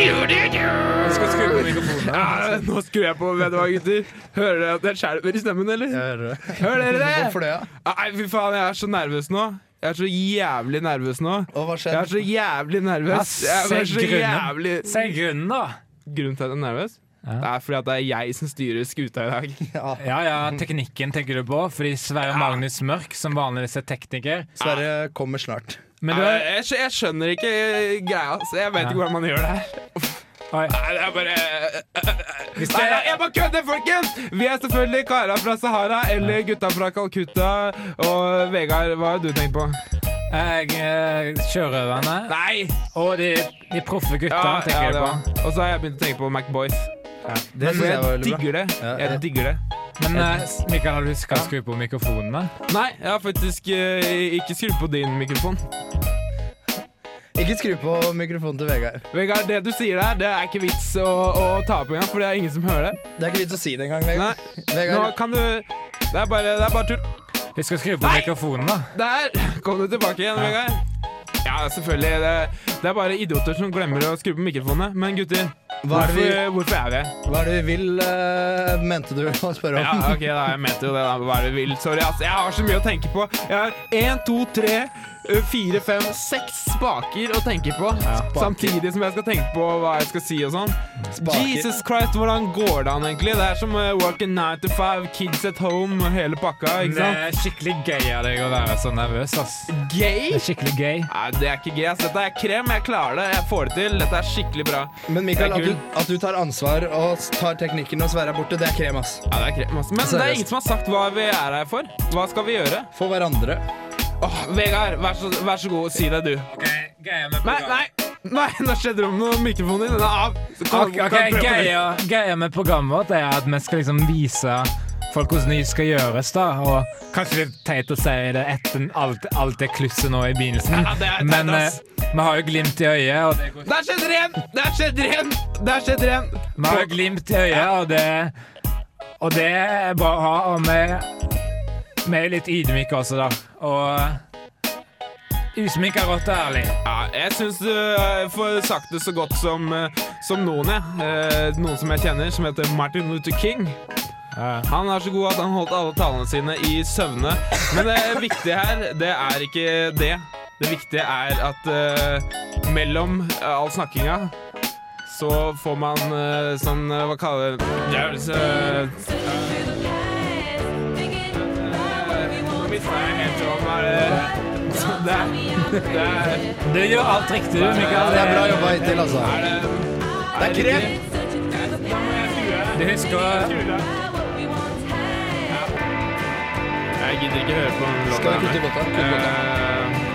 Skal skru på mikrofonen. Ja, nå skrur jeg på, vet du hva, gutter. Hører dere at jeg skjelver i stemmen, eller? Jeg hører det. Hører dere det? Hvorfor det? ja? Nei, fy faen, jeg er så nervøs nå. Jeg er så jævlig nervøs nå. Og hva Jeg er skjedde? så jævlig nervøs. Ja, Jeg er så se grunnen. jævlig Si grunnen, da. Grunnen til at jeg er nervøs? Ja. Det er fordi at det er jeg som styrer skuta i dag. Ja. Ja, ja, teknikken tenker du på, fordi Sverre Magnus Mørk, som vanligvis er tekniker Sverre kommer snart. Men du Nei, er jeg, skj- jeg skjønner ikke greia. ass. jeg vet Ja. ikke hvordan man gjør det her. Oi. Nei, det er bare Hvis Nei, nei, det, jeg bare kødder, folkens! Vi er selvfølgelig kara fra Sahara eller gutta fra Calcutta. Og Vegard, hva har du tenkt på? jeg eh, Sjørøverne Nei! og de, de proffe gutta Ja, ja, tenker det du var. på. Og så har jeg begynt å tenke på Macboys. Det Men synes jeg var jeg veldig bra. digger det. Ja, ja. Jeg digger det. Men eh, Mikael, har du huska å skru på mikrofonene? Nei, jeg har faktisk eh, ikke skrudd på din mikrofon. Ikke skru på mikrofonen til Vegard. Vegard, det du sier der, det er ikke vits å, å ta opp engang, for det er ingen som hører det. Det er ikke vits å si det engang, Vegard. Nei, nå Vegard, kan du Det er bare, det er bare tull. Husk å skru på Nei! mikrofonen, da. Der kom du tilbake igjen, Vegard. Ja, selvfølgelig. Det, det er bare idioter som glemmer å skru på mikrofonene. Men gutter, hva er, det hvorfor, vi, hvorfor er vi her? hva er det vi vil, eh, mente du å spørre Ja, om? OK, da, jeg mente jo det. da, Hva er det du vil? Sorry, ass. Jeg har så mye å tenke på. Jeg har én, to, tre, ø, fire, fem, seks spaker å tenke på. Samtidig som jeg skal tenke på hva jeg skal si og sånn. Spaker. Jesus Christ, hvordan går det an egentlig? Det er som uh, working nine to five, kids at home og hele pakka, ikke Det sant? er skikkelig gøy av deg å være så nervøs, ass. Gay? Det er skikkelig gøy. Nei, det er ikke gay, ass. Dette er krem. Jeg klarer det. Jeg får det til. Dette er skikkelig bra. Men Mikael, Det er at du, at du tar ansvar og s- tar teknikken og Sverre er borte, det er krem, ass. Ja, det er krem, ass. Men det er Seriøst. ingen som har sagt hva vi er her for. Hva skal vi gjøre? For hverandre. Åh, Vegard, vær så, vær så god, si det, du. Nei, nei, nei, nå skjedde det om noe mikrofonen din. Den er av. Så Ok, kan- ok, kan prøve på nytt. greia, greia med programmet vårt er at vi skal liksom vise folk hvordan det skal gjøres. da Og Kanskje det er teit å si det etter alt, alt det klusset nå i begynnelsen, Ja, det er teit, men eh, ass. vi har jo glimt i øyet. Og det går Der skjedde det igjen! Der skjedde det igjen! Der skjedde det igjen! Vi har jo glimt i øyet, og det, og det er bra å ha. Og vi, vi er litt ydmyke også, da. Og usminka rått og ærlig. Ja, jeg syns du eh, får sagt det så godt som, eh, som noen, jeg. Eh, Noen som jeg kjenner, som heter Martin Luther King. Han er så god at han holdt alle talene sine i søvne. Men det viktige her, det er ikke det. Det viktige er at eh, mellom eh, all snakkinga så får man eh, sånn eh, Hva kaller det Det er så, Mitt feil, helt om, er det- så det er- det er- Du gjør alt riktig, du, Mikael. Det er bra jobba hittil, altså. er det- Det er krem. Du husker å Jeg gidder ikke høre på den låta. Skal vi kutte i låta? Kutte i låta. Eh,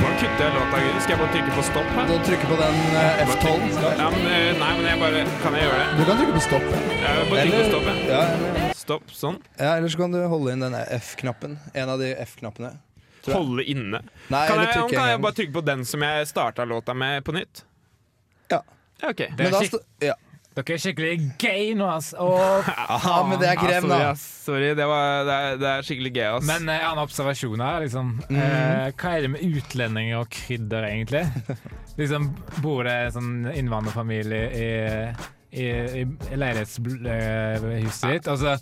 Hvordan kutter jeg låta? Gud? Skal jeg bare trykke på stopp her? Du trykker på den eh, F12. Ja, men, eh, nei, men jeg bare Kan jeg gjøre det? Du kan trykke på stopp. Jeg bare trykker på stopp, jeg. ja, eller- Stopp. Sånn. ja, eller så kan du holde inn denne F-knappen. En av de F-knappene. Tror jeg. Holde inne. Nei, Kan eller jeg, trykke kan jeg en bare gang. trykke på den som jeg starta låta med, på nytt? Ja. Ja, OK. Det Men er da skikk- sto- ja. Dere er skikkelig gay nå, ass. Og, Aha, men det er Ja, krem, Ah, sorry, da. ass. sorry. Det, var, det, er, det er skikkelig gøy, ass. men eh, en observasjon her, liksom. Eh, hva er det med utlendinger og krydder, egentlig? Liksom, Bor det en sånn innvandrerfamilie i, i, i leilighetshuset ditt? Altså,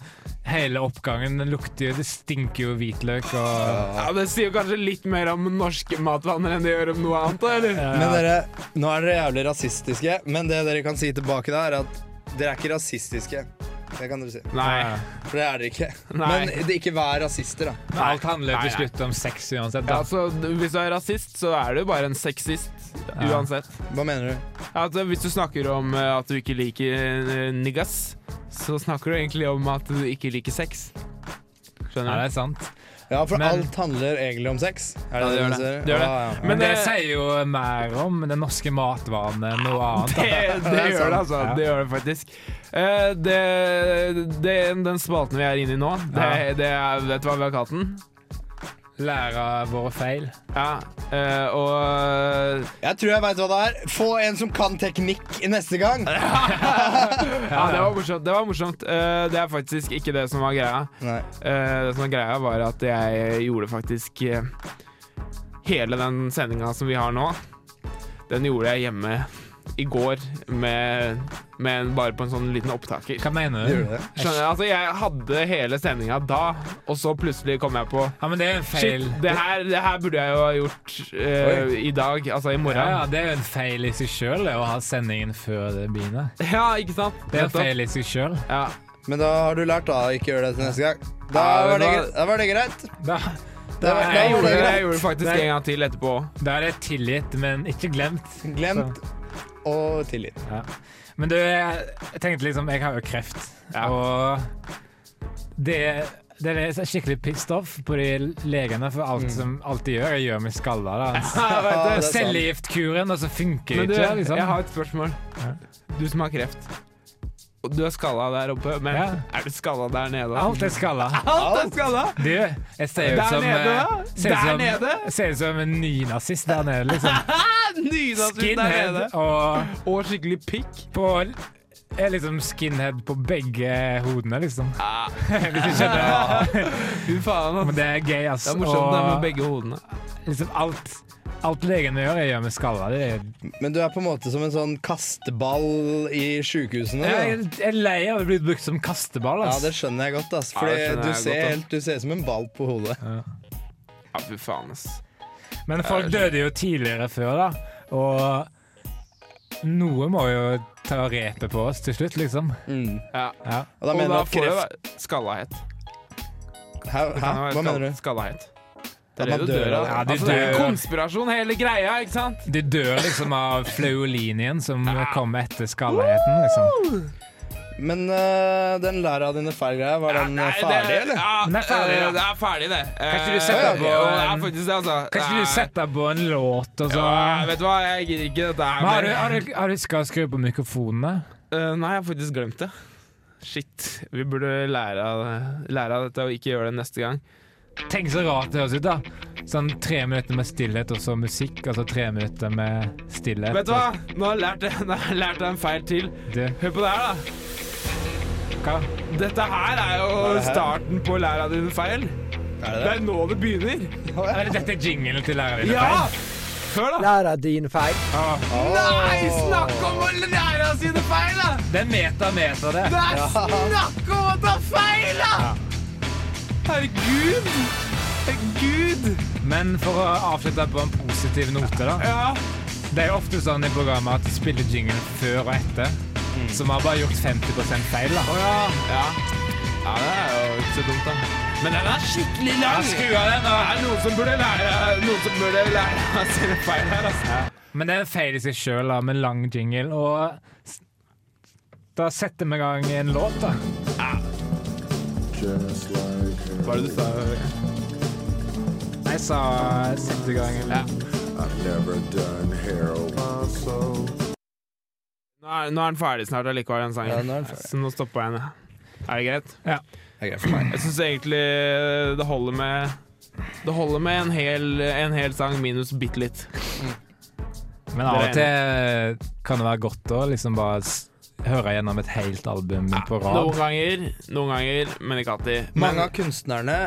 hele oppgangen lukter jo Det stinker jo hvitløk og ja, det sier jo kanskje litt mer om norske matvaner enn det gjør om noe annet, da, eller? Men dere, nå er dere jævlig rasistiske, men det dere kan si tilbake da, er at dere er ikke rasistiske. Det kan dere si. Nei. Ja. For det er dere ikke. Nei. Men det, ikke vær rasister, da. Men Alt handler Nei, jo nei. til slutt om sex Ja, uansett. Da. altså, d- hvis du er rasist, så er du bare en sexist. Ja. Uansett. Hva mener du? Altså, hvis du snakker om eh, at du ikke liker eh, niggas, så snakker du egentlig om at du ikke liker sex. Ja, Skjønner det du? er sant. Ja, for Men- alt handler egentlig om sex. Er Ja, det gjør dere det. sier? Det gjør det. Ja, ja. Men, Men det, det- sier jo mer om den norske matvanen enn noe annet. Det, det er gjør det, sant. altså. Ja. Det gjør det faktisk. Eh, det, det, den spalten vi er inne i nå, det, Ja. det er, vet du hva vi har kalt den? Da. Lære av våre feil. Ja, eh, og Jeg tror jeg veit hva det er. Få en som kan teknikk neste gang. Ja, ah, det var morsomt. Det, var morsomt. Eh, det er faktisk ikke det som var greia. Nei. Eh, det som var greia, var at jeg gjorde faktisk eh, Hele den sendinga som vi har nå, den gjorde jeg hjemme i går med, med en, bare på en sånn liten opptaker. Hva mener Gjorde du? det? Skjønner du? Altså, jeg hadde hele sendinga da, og så plutselig kom jeg på Ja, men det er en feil. Shit, det her, det her burde jeg jo ha gjort eh, i dag, altså i Ja, ja, morgen. det er jo en feil i seg sjøl å ha sendingen før det begynner. Ja, ikke sant? Det er en Nettopp. feil i seg sjøl. Ja. Men da har du lært da, å ikke gjøre det til neste gang. Da Ja, var det, da- greit. da var det greit. Da, Da da, var- Jeg er, gjorde, det, greit. jeg gjorde det faktisk Nei. en gang til etterpå. da er det tilgitt, men ikke glemt. Glemt og tilgitt. Ja. Men du, jeg tenkte liksom Jeg har jo kreft, Ja. og det det er skikkelig pissed off på de legene for alt som alt de gjør. Jeg gjør meg skalla. da. Mm. Ja, vet du. det er sant. Cellegiftkuren, og så funker Men det du, ikke. liksom. jeg har et spørsmål. Ja. Du som har kreft. Og Du er skalla der oppe, men Ja. er du skalla der nede? Alt er skalla. Alt er skalla! Du, jeg ser ut Der som nede, eh, da? ser ut Der som- nede? Ser ut som en nynazist der nede, liksom. Nynazist Ah, der nede. Skinhead og Og skikkelig pikk. på er liksom skinhead på begge hodene, liksom. Ah. Hvis du skjønner. Fy faen, Men ass. det er gøy, ass. Det er morsomt det med og begge hodene. liksom alt, alt legene gjør, jeg gjør med skalla. Det er, Men du er på en måte som en sånn kasteball i jeg, sjukehusene. da. jeg er lei av å bli brukt som kasteball, Ja, ass. det skjønner jeg godt, ass. Ja, det Fordi skjønner du, jeg ser godt, ass. helt, du ser ut som en ball på hodet. Ja, fy faen, ass. Men folk døde jo tidligere før, da. Og noe må jo ta repet på oss til slutt, liksom. Mm. Ja. Ja. Og da Og mener du da at får du kreft skallahet. Hæ? Hæ? Hva mener du? Skallahet. Det Ja, er det man du dør dør av av. det. Ja, du altså, det er dør. konspirasjon, hele greia, ikke sant? De dør liksom av flaulinien som kommer etter skallaheten, liksom. Men øh, den læra dine feil-greia, var den øh, Nei, ferdig, det, eller? Ja, Den er ferdig, eh, ja. det er ferdig, det. Kanskje du Eh, setter ja, på ja, en- det er faktisk det, altså. Kanskje Nei. du setter på en låt, og så Ja, Vet du hva, jeg gidder ikke dette her Men har du, mer. har du, har du skal skru på mikrofonene? Eh, Nei, jeg har faktisk glemt det. Shit. Vi burde lære av, lære av dette og ikke gjøre det neste gang. Tenk så rart det høres ut, da. Sånn tre minutter med stillhet, og så musikk, og så tre minutter med stillhet. Vet du hva, nå har jeg lært, nå har jeg lært deg en feil til. Du, Hør på det her, da. hva? Dette her er er jo det her? starten på lære av dine feil. Er Det er nå det begynner. Er det dette er jinglen til læreren din? Ja! Hør, da. Lære din feil. Nei, snakk om å lære av sine feil, da! Det er meta, meta, det. Det er snakk om å ta feil, da! Herregud! Herregud! Men for å avslutte på en positiv note, da. Ja. Det er jo ofte sånn i programmet at de spiller jingle før og etter. Så vi har bare gjort 50 feil, da. Mm. Å ja. ja. Ja, det er jo ikke så dumt, da. Men den er skikkelig lang! skru av den, Det er noen som burde lære Noen som burde lære av sine feil her, altså. Men det er en feil i seg sjøl, da, med lang jingle. Og s- da setter vi i gang en låt, da. Just like her. Hva er det du sa? Jeg sa sette i gang en låt. I've never done heroin, so Nå er, nå er den ferdig snart allikevel, den sangen. Ja, nå er den ferdig. Så nå stopper jeg den. ja. Er det greit? Det er greit for meg. Jeg syns egentlig eh, det holder med Det holder med en hel, en hel sang minus bitte litt. Men av og til kan det være godt å liksom bare s- høre gjennom et helt album på Noen rad. ganger, noen ganger, men ikke alltid. Men, Mange av kunstnerne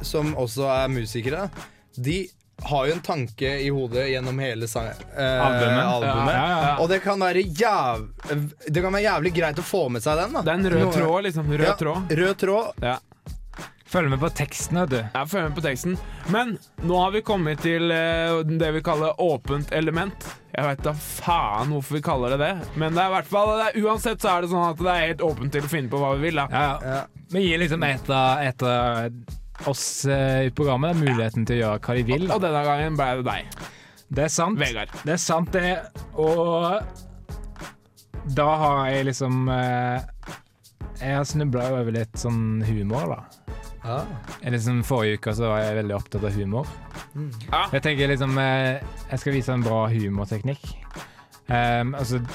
som også er musikere, de har jo en tanke i hodet gjennom hele sang, eh, albumet. Ja, ja, ja. Og det kan, være jæv det kan være jævlig greit å få med seg den. da det er en rød Noe- tråd, liksom. Rød Ja, tråd. Rød tråd. Ja. Følg med på teksten, vet du. Jeg følger med på teksten. Men nå har vi kommet til eh, det vi kaller åpent element. Jeg veit da faen hvorfor vi kaller det det, men det er i hvert fall det er, uansett så er det sånn at det er helt åpent til å finne på hva vi vil. da. Ja, ja. Ja. Vi gir liksom et av, et av oss eh, i programmet muligheten til å gjøre hva de vil. Og denne gangen ble det deg, Det er sant. Vegard. Det er sant, det. Og da har jeg liksom eh, Jeg har snubla over litt sånn humor, da. Ja. Jeg Liksom, forrige uke så var jeg veldig opptatt av humor. Ja. Jeg tenker liksom eh, Jeg skal vise en bra humorteknikk. Um, altså Ehm,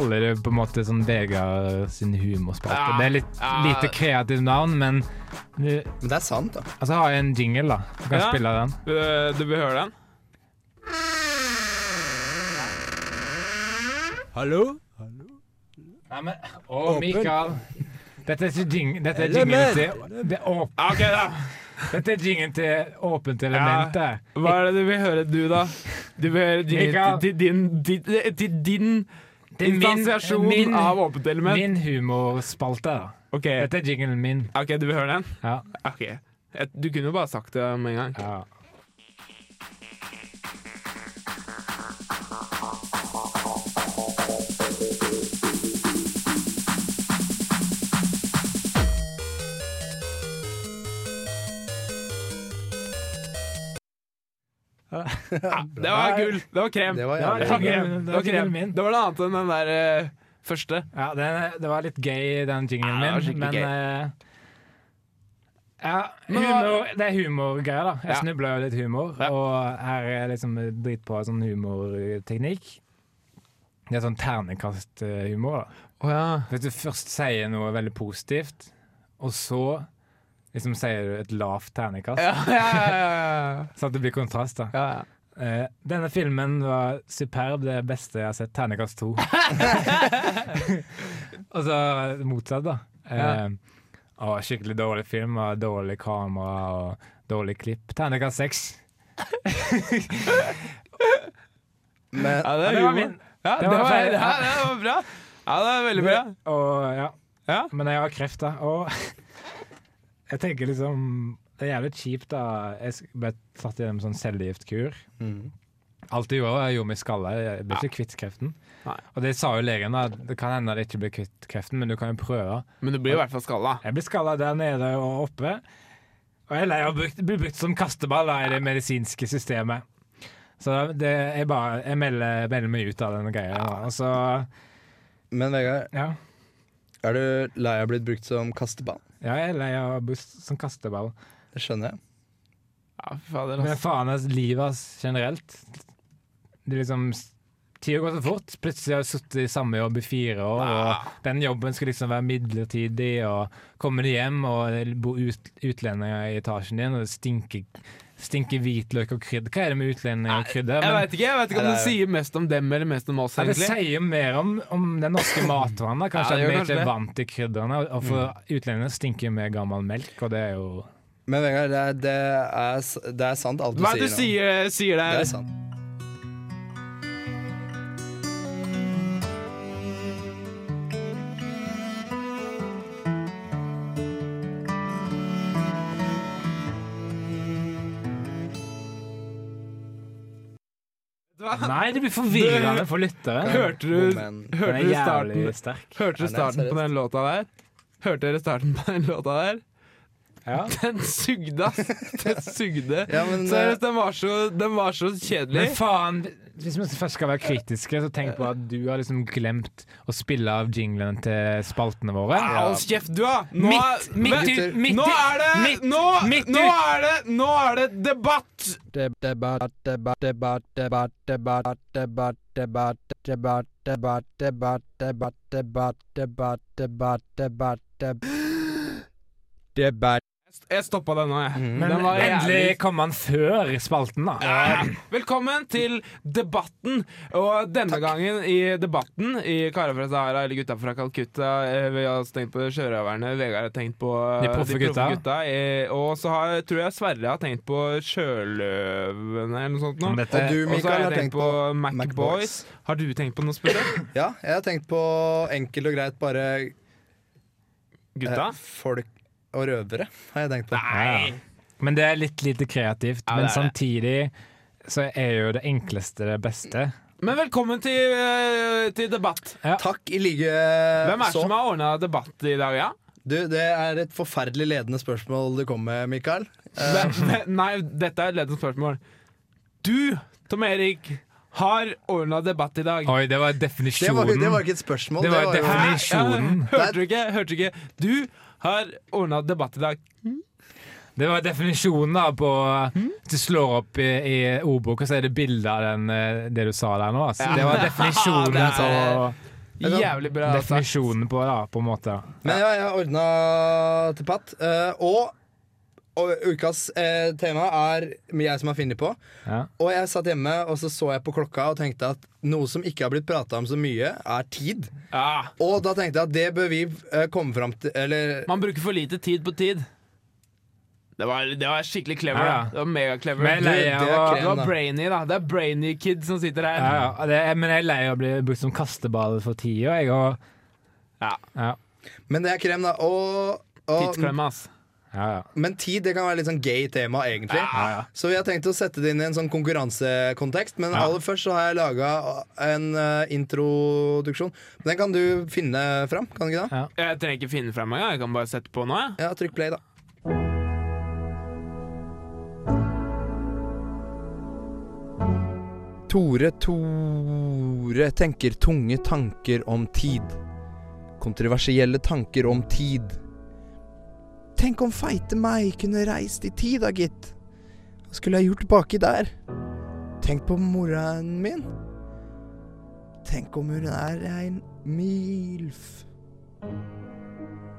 kaller det på en måte sånn Vegard sin humorspalte. Ja, Det er litt ja. lite kreativt navn, men eh, Men det er sant, da. Altså har jeg en jingle, da. Du kan Ja. spille den. Eh, Du vil høre den? Hallo? Nei, men Å, Åpen. Mikael. Dette er, ikke jing dette er jingen Element. til det er åp Ja, OK, da. Dette er jingen til åpent element. Ja. der. Hva er det du vil høre, du, da? Du vil høre din, Mikael. til din, til til din Det er min- instansiasjon min- av åpent element. Min humorspalte. da. OK, Dette er jinglen min. ok, du vil høre den? Ja. Ok. Jeg- Du kunne jo bare sagt det med en gang. ja. Det var gull! Det var krem. Det var det jævlig var krem. Det jævlig bra. var, Det var krem. min. Det var noe annet enn den der eh, første. ja den, det var litt gøy, den jinglen Ja, det var min, skikkelig men gøy. eh, ja, Men- humor, det er humorgreier, da. Jeg Ja. snubla jo litt humor, Ja. og her er liksom dritbra sånn humorteknikk. Det er sånn ternekasthumor, da. Å ja. Hvis du først sier noe veldig positivt, og så liksom sier du et lavt ternekast, Ja, ja, ja, ja. så at det blir kontrast. da. ja, ja. Eh, denne filmen var superb, det beste jeg har sett. Ternekast to. og så motsatt, da. Eh, og skikkelig dårlig film, og dårlig kamera og dårlig klipp. Ternekast seks. Men Ja, Ja, det, det var humor. min. Ja, det, var var, feil. ja, det var bra. Ja, det var veldig bra. Og ja. Ja. Men jeg har kreft, da. Og jeg tenker liksom Det er jævlig kjipt, da. Jeg sk- ble tatt gjennom sånn cellegiftkur. Alt jeg gjorde, var jeg gjorde meg skalla. Jeg ble ikke kvitt kreften. Nei. Og det sa jo legen, da. Det kan hende det ikke blir kvitt kreften, men du kan jo prøve. Men du blir i hvert fall skalla. Jeg blir skalla der nede og oppe. Og jeg er lei av å brukt- bli brukt som kasteball da, i det medisinske systemet. Så det, jeg, bare, jeg melder, melder meg ut av den greia. da. Og så Men Vegard, Ja. er du lei av å bli brukt som kasteball? Ja, jeg er lei av buss som kasteball. Det skjønner jeg. Ja, fy fader, Men ass. faen, ass, livet ass, generelt Det er liksom Tida går så fort. Plutselig har jeg sittet i samme jobb i fire år, Ah. og den jobben skal liksom være midlertidig, og kommer du hjem og bor ut, utlendinger i etasjen din, og det stinker, stinker hvitløk og krydder Hva er det med utlendinger og krydder? Jeg Men, veit ikke jeg vet ikke om Nei, det det er- sier mest om dem eller mest om oss, ja, det egentlig. sier mer om, om den norske matvaren. da. Ja, Kanskje det gjør at vi kanskje ikke det. Mm. er vant til krydderne. og- Og for utlendinger stinker jo mer gammel melk, og det er jo Men Vegard, det er, det er, s- det er sant alt du Hva sier er det du sier, sier nå. Det der? er sant. Hva? Nei, det blir forvirrende for lytteren. Hørte du, Men- Den hørte er du starten, jævlig sterk. hørte Ja, du nei, starten på seriøst. den låta der? Hørte dere starten på den låta der? Ja. Den sugde, ass. Den sugde. Ja, men, eh, Seriøst, den var så, den var så kjedelig. Men faen, hvis vi først skal være kritiske, så tenk på at du har liksom glemt å spille av jinglen til spaltene våre. Ja, Hold kjeft, du, da! Nå, Midt, midt, Men- ut- midt, nå ut- er det midt- nå, midt nå ut. er det Nå er det debatt! Debatt, debatt, debatt, debatt, debatt, debatt, debatt, debatt, debatt, debatt, debatt, debatt, debatt, debatt, debatt, debatt, debatt, debatt. Jeg stoppa den nå, jeg. Men den var endelig jævlig- kom han før spalten, da. Ja. Velkommen til Debatten. Og denne gangen i Debatten i Karer fra Sahara eller Gutta fra Calcutta. eh, Vi har også tenkt på sjørøverne. Vegard har tenkt på eh, De proffe gutta. eh, Og så har, tror jeg Sverre har tenkt på sjøløvene eller noe sånt. nå. Men Og dette, eh, Og du, så har Mikael, jeg tenkt på Mac Macboys. Boys. Har du tenkt på noe spesielt? Ja, jeg har tenkt på enkelt og greit bare Gutta? eh, folk og røvere, har jeg tenkt på. Ja. Men det er litt lite kreativt. Ja, det men er det. samtidig så er jo det enkleste det beste. Men velkommen til, eh, til debatt. Ja. Takk i like Hvem er det Eh, så. som har ordna debatt i dag, ja? Du, det er et forferdelig ledende spørsmål du kom med, Mikael. Eh, Men- men- Nei, dette er et ledende spørsmål. Du, Tom Erik, har ordna debatt i dag. Oi, det var Det definisjonen. var, det var ikke et spørsmål. Det var jo- Hæ? definisjonen. Ja, hørte du ikke? Hørte du ikke? Du har ordna debatt i dag. Det var definisjonen da på Hvis du slår opp i, i ordboka, så er det bilde av den, eh, det du sa der nå. Altså. Det var Ja, definisjonen det er- på Jævlig bra altså. sagt. altså. sånn Definisjonen på det, da, på en måte. Men ja, jeg ordna til Pat. eh, og, og ukas eh, tema er jeg som har funnet på. Ja. Og jeg satt hjemme og så så jeg på klokka og tenkte at noe som ikke har blitt prata om så mye, er tid. Ja. Og da tenkte jeg at det bør vi eh, komme fram til Eller Man bruker for lite tid på tid. Det var, det var skikkelig clever. Ja. da. Det var megaclever. Men Du- nei, jeg det er var, Det krem, da. var brainy, da. Det er brainy kid som sitter her. ja, ja, det, men jeg er lei av å bli brukt som kasteball for tida, jeg. Og, Ja. ja, Men det er krem, da. Og, og Tidsklemme, ass. ja, ja. Men tid det kan være litt sånn gay tema, egentlig. Ja, ja. Så vi har tenkt å sette det inn i en sånn konkurransekontekst. Men Ja. aller først så har jeg laga en eh, introduksjon. Den kan du finne fram, kan du ikke det? Jeg trenger ikke finne frem engang. Jeg kan bare sette på nå. jeg. Ja, trykk play, da. Tore Tore tenker tunge tanker om tid. Kontroversielle tanker om tid. Tenk om feite meg kunne reist i tid, da, gitt. Hva skulle jeg gjort baki der? Tenk på moren min. Tenk om hun er en milf.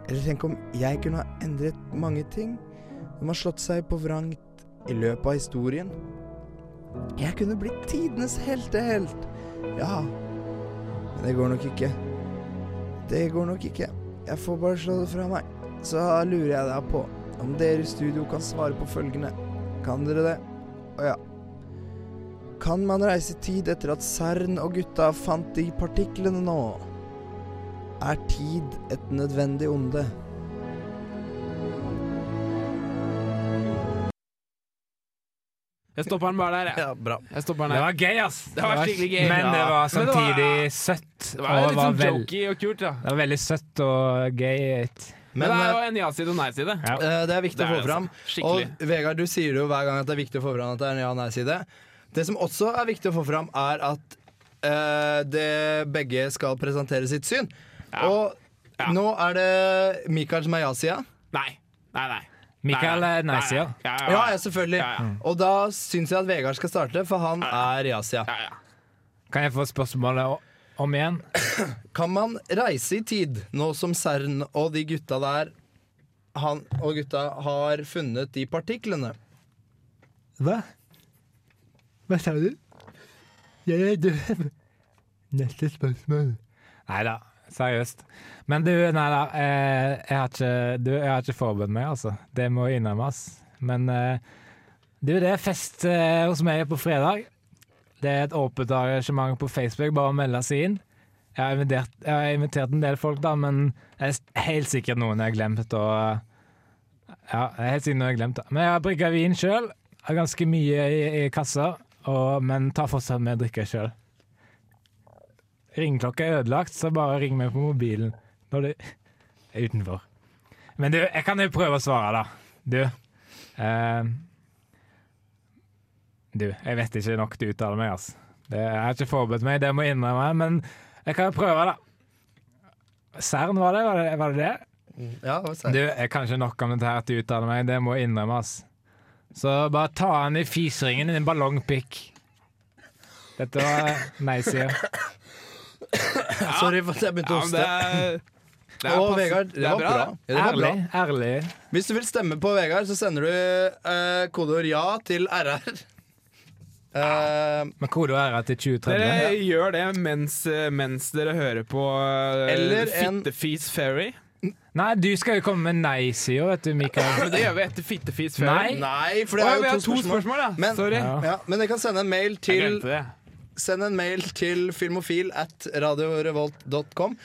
Eller tenk om jeg kunne ha endret mange ting som har slått seg på vrangt i løpet av historien. Jeg kunne blitt tidenes heltehelt. Ja. Men det går nok ikke. Det går nok ikke. Jeg får bare slå det fra meg. Så lurer jeg deg på om dere i studio kan svare på følgende. Kan dere det? Å ja. Kan man reise i tid etter at Cern og gutta fant de partiklene nå? Er tid et nødvendig onde? Jeg stopper den bare der. jeg. Ja, bra. Jeg stopper den Det her. var gøy, ass! Det var skikkelig gøy. Men det Ja. var Men det var- samtidig søtt. Det og var litt sånn vel- jokey og kult, da. Det var veldig søtt og gøy. Men Men det er eh, jo en ja-side og nei-side. Ja. eh, det er viktig Det å er få det, fram. altså. Skikkelig. Og Vegard, du sier jo hver gang at det er viktig å få fram at det er en ja- og nei-side. Det som også er viktig å få fram, er at eh, det begge skal presentere sitt syn. Og Ja. nå er det Mikael som er ja-sida. Nei. Nei, nei. Mikael Nei, er nei. nei-sida. Ja, Ja, ja, selvfølgelig. Ja, ja. Og da syns jeg at Vegard skal starte, for han er ja-sida. Ja, ja. Kan jeg få spørsmålet o- om igjen? Kan man reise i tid, nå som Cern og de gutta der han og gutta har funnet de partiklene? Hva? Hva sa du? Jeg er døv. Neste spørsmål. Nei da, seriøst. Men du, nei da. Eh, jeg, har ikke, du, jeg har ikke forberedt meg, altså. Det må innrømmes. Men eh, du, det er fest eh, hos meg på fredag. Det er et åpent arrangement på Facebook, bare å melde seg inn. Jeg har, invitert, jeg har invitert en del folk, da, men det er s- helt sikkert noen jeg har glemt. Og, ja, det er helt sikkert noen jeg har glemt da. Men jeg har brygga vin sjøl. Har ganske mye i, i kassa, og, men tar fortsatt med drikke sjøl. Ringeklokka er ødelagt, så bare ring meg på mobilen når du er utenfor. Men du, jeg kan jo prøve å svare, da. Du. eh, du, jeg vet ikke nok til å uttale meg, altså. Det, jeg har ikke forberedt meg, det må jeg innrømme, men jeg kan jo prøve, da. Cern, var det? Var det var det? det? Ja, hva sa jeg? Du, jeg kan ikke nok om dette her til å uttale meg, det må jeg innrømme, ass. Så bare ta han i fiseringen, din ballongpikk. Dette var nei-sida. Sorry for at jeg begynte ja men å hoste. det er, det Å, pass- Vegard, det, er var bra. Ja, det var bra. Ærlig. Ærlig. Hvis du vil stemme på Vegard, så sender du eh, kodeord ja til RR. Eh, Men kodeord er at det er 2030. Dere gjør det mens, eh, mens dere hører på eh, Eller en- Fittefis Ferry. Nei, du skal jo komme med nei-sida, vet du, Mikael. Men det gjør vi etter Fittefis Nei. Ferry. nei, Å, for det ja, er vi jo har to spørsmål. ja. Men- Sorry. Ja. Ja, men dere kan sende en mail Jeg til, glemte det. send en mail til filmofil at radiorevolt.com.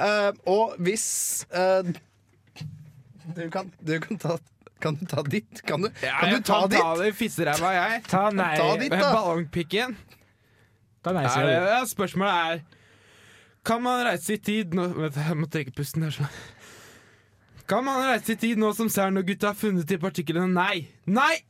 Eh, og hvis eh, du, kan, du kan ta Kan du ta ditt? Kan du, kan du jeg ta kan ditt? ta det i fisseræva, jeg. Ta nei Ta ditt, da. Ballongpikken. Ta Nei, nei-sida. det er- Spørsmålet er Kan man reise i tid nå Vent, jeg må trekke pusten her. sånn. Kan man reise i tid nå som Cern og gutta har funnet de partiklene? Nei! Nei!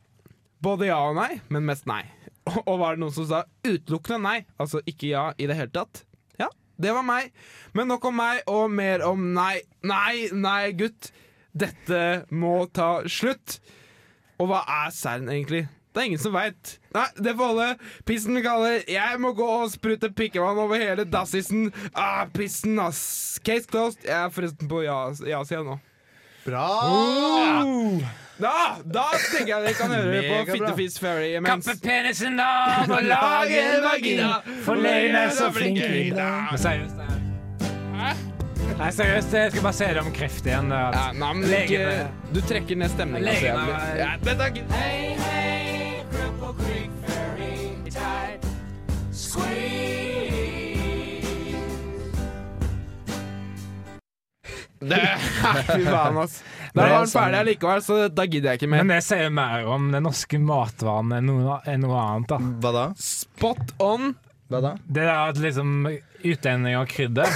Både ja og nei, men mest nei. Og, og var det noen som sa utelukkende nei? Altså ikke ja i det hele tatt? Ja, det var meg. Men nok om meg, og mer om nei. Nei, nei, gutt. Dette må ta slutt. Og hva er Cern egentlig? Det er ingen som veit. Nei, det får holde. Pissen kaller. Jeg må gå og sprute pikkevann over hele dassisen. Ah, pissen, ass. Case closed. Jeg er forresten på ja- ja-sida nå. Bra! Da, da tenker jeg dere kan høre på Megabra. Fittefis Ferry imens. Kappe penisen av og lage en vagina, for løgn er så flink vina. Men Seriøst, det er- Nei, seriøst, jeg skal bare se det om kreft igjen. og alt. Ja, nei, men Legene. ikke, du trekker ned stemninga. Legene er- Ja, dette er ikke Det Fy faen, ass. Da var den ferdig allikevel, så da gidder jeg ikke mer. Men det sier mer om den norske matvanen enn noe, enn noe annet. da. Hva da? Spot on. Hva da? Det der at liksom utlendinger og krydder